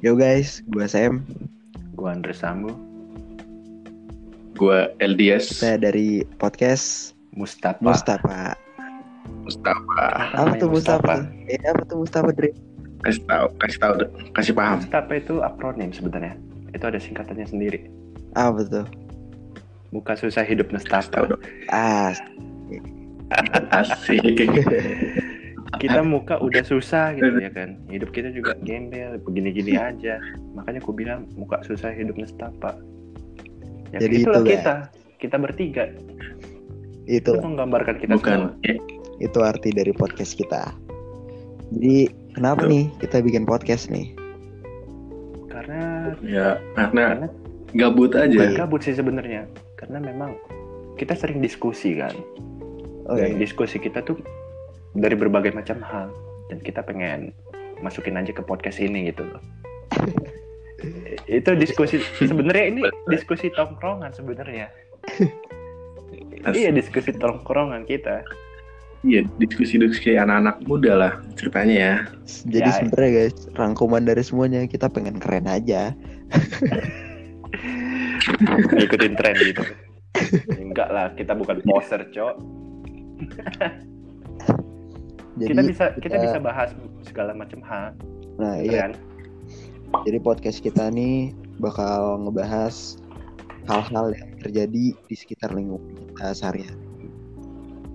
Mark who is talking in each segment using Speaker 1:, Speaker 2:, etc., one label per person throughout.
Speaker 1: Yo guys, gue Sam.
Speaker 2: Gue Andres Sambu. Gue LDS
Speaker 1: Kita dari podcast
Speaker 2: Mustafa.
Speaker 1: Mustafa.
Speaker 3: Mustafa
Speaker 1: Apa
Speaker 2: Namanya
Speaker 1: tuh Mustafa?
Speaker 2: Mustafa.
Speaker 1: Eh, apa tuh Mustafa Dre?
Speaker 3: kasih tahu kasih tahu deh. kasih paham
Speaker 2: Mustafa itu akronim sebenarnya. Itu ada singkatannya sendiri.
Speaker 1: Apa tuh?
Speaker 2: Muka susah hidup
Speaker 3: tahu
Speaker 2: Mustafa.
Speaker 3: dong
Speaker 1: Ah,
Speaker 3: asik
Speaker 2: Kita muka udah susah gitu ya kan. Hidup kita juga gembel, begini-gini aja. Makanya aku bilang muka susah hidup Mustafa. Ya,
Speaker 1: Jadi
Speaker 2: itulah
Speaker 1: itu,
Speaker 2: kita. Kita bertiga. Itu
Speaker 1: itu
Speaker 2: menggambarkan kita semua.
Speaker 3: bukan ya,
Speaker 1: itu arti dari podcast kita. Jadi kenapa
Speaker 3: Betul.
Speaker 1: nih kita bikin podcast nih?
Speaker 2: Karena
Speaker 3: ya karena
Speaker 2: karena
Speaker 3: gabut
Speaker 2: bukan
Speaker 3: aja
Speaker 2: gabut sih sebenarnya. Karena memang kita sering diskusi kan.
Speaker 1: Oh,
Speaker 2: dan
Speaker 1: iya.
Speaker 2: diskusi kita tuh dari berbagai macam hal dan kita pengen masukin aja ke podcast ini gitu loh itu diskusi sebenarnya ini diskusi tongkrongan sebenarnya iya diskusi tongkrongan kita
Speaker 3: iya diskusi diskusi anak-anak muda lah ceritanya ya
Speaker 1: iya. Jadi
Speaker 2: ya.
Speaker 1: sebenarnya guys, rangkuman dari semuanya kita pengen keren aja.
Speaker 2: ngikutin tren gitu enggak lah kita bukan poser cok
Speaker 1: Jadi
Speaker 2: kita bisa kita
Speaker 1: kita-
Speaker 2: bisa bahas segala macam hal
Speaker 1: nah iya,
Speaker 2: kan
Speaker 1: jadi podcast kita nih bakal ngebahas hal-hal yang terjadi di sekitar lingkungan kita sehari-hari.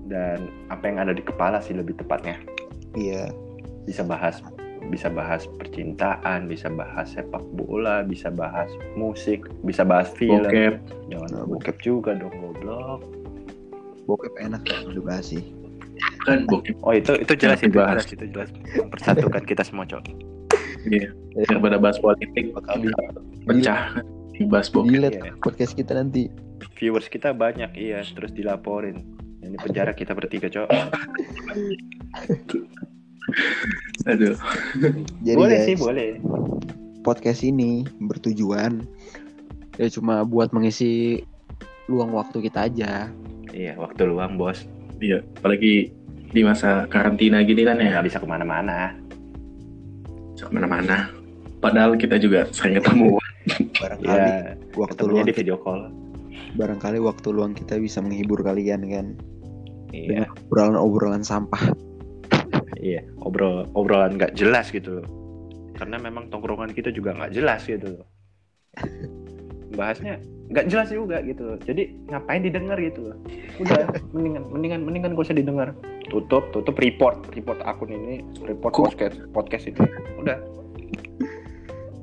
Speaker 2: dan apa yang ada di kepala sih lebih tepatnya
Speaker 1: Iya.
Speaker 2: bisa bahas bisa bahas percintaan, bisa bahas sepak bola, bisa bahas musik, bisa bahas film.
Speaker 3: bokep
Speaker 1: Nah,
Speaker 2: Jangan bokep juga dong goblok.
Speaker 1: bokep enak ya udah bahas sih
Speaker 3: kan bokep
Speaker 2: Oh, itu itu jelas
Speaker 3: Jangan
Speaker 2: itu
Speaker 3: dibahas.
Speaker 2: jelas itu jelas. Mempersatukan kita semua, Cok.
Speaker 3: daripada Iya. bahas politik
Speaker 1: bakal
Speaker 3: pecah bahas bokep
Speaker 1: dilihat
Speaker 2: Iya.
Speaker 1: podcast kita nanti
Speaker 2: Viewers kita banyak iya, terus dilaporin. Ini penjara kita bertiga, Cok.
Speaker 3: aduh
Speaker 1: jadi
Speaker 2: boleh
Speaker 1: guys,
Speaker 2: sih, boleh.
Speaker 1: podcast ini bertujuan ya cuma buat mengisi luang waktu kita aja
Speaker 2: Iya, waktu luang, Bos.
Speaker 3: iya apalagi di masa karantina gini kan ya
Speaker 2: Nggak bisa kemana mana
Speaker 3: kemana-mana padahal kita juga sering ketemu
Speaker 1: Iya, barangkali
Speaker 2: Iya,
Speaker 1: waktu
Speaker 2: ketemunya
Speaker 1: luang
Speaker 2: di video call.
Speaker 1: barangkali waktu luang kita bisa menghibur kalian kan
Speaker 2: Iya,
Speaker 1: obrolan-obrolan sampah
Speaker 2: iya. Obrol obrolan nggak jelas gitu. Karena memang tongkrongan kita juga nggak jelas gitu. bahasnya nggak jelas juga gitu loh. Jadi ngapain didengar gitu loh. Udah mendingan mendingan mendingan gak usah didengar. Tutup, tutup report, report akun ini, report
Speaker 3: Ku-
Speaker 2: podcast podcast ini. Udah.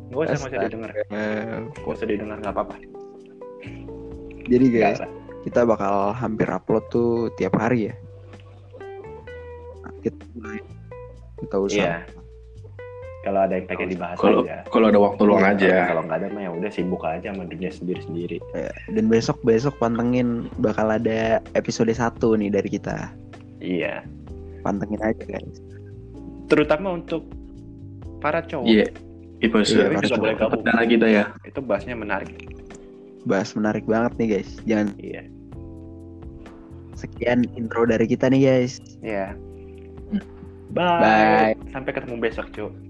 Speaker 2: Gak usah, nggak usah didengar. Gak usah didengar nggak apa-apa.
Speaker 1: jadi
Speaker 3: Iya.
Speaker 1: guys
Speaker 2: Nggak lah.
Speaker 1: kita bakal hampir upload tuh tiap hari ya Nah, kita kita usah
Speaker 2: Iya. Kalau ada yang pengen dibahas
Speaker 3: kalau
Speaker 2: aja.
Speaker 3: kalau ada waktu luang aja
Speaker 2: Kalau nggak ada mah ya udah sibuk aja sama dunia sendiri-sendiri.
Speaker 1: dan besok besok pantengin bakal ada episode 1 nih dari kita
Speaker 2: Iya.
Speaker 1: pantengin aja guys
Speaker 2: Terutama untuk para cowok
Speaker 3: iya itu
Speaker 1: Iya,
Speaker 3: sudah
Speaker 1: harus
Speaker 3: sudah
Speaker 2: boleh gabung.
Speaker 3: perdana kita ya
Speaker 2: itu bahasnya menarik.
Speaker 1: bahas menarik banget nih guys. Jangan
Speaker 2: Iya.
Speaker 1: sekian intro dari kita nih guys.
Speaker 2: Iya.
Speaker 3: Hmm.
Speaker 2: Bye.
Speaker 1: Bye.
Speaker 2: Sampai ketemu besok, Cuk.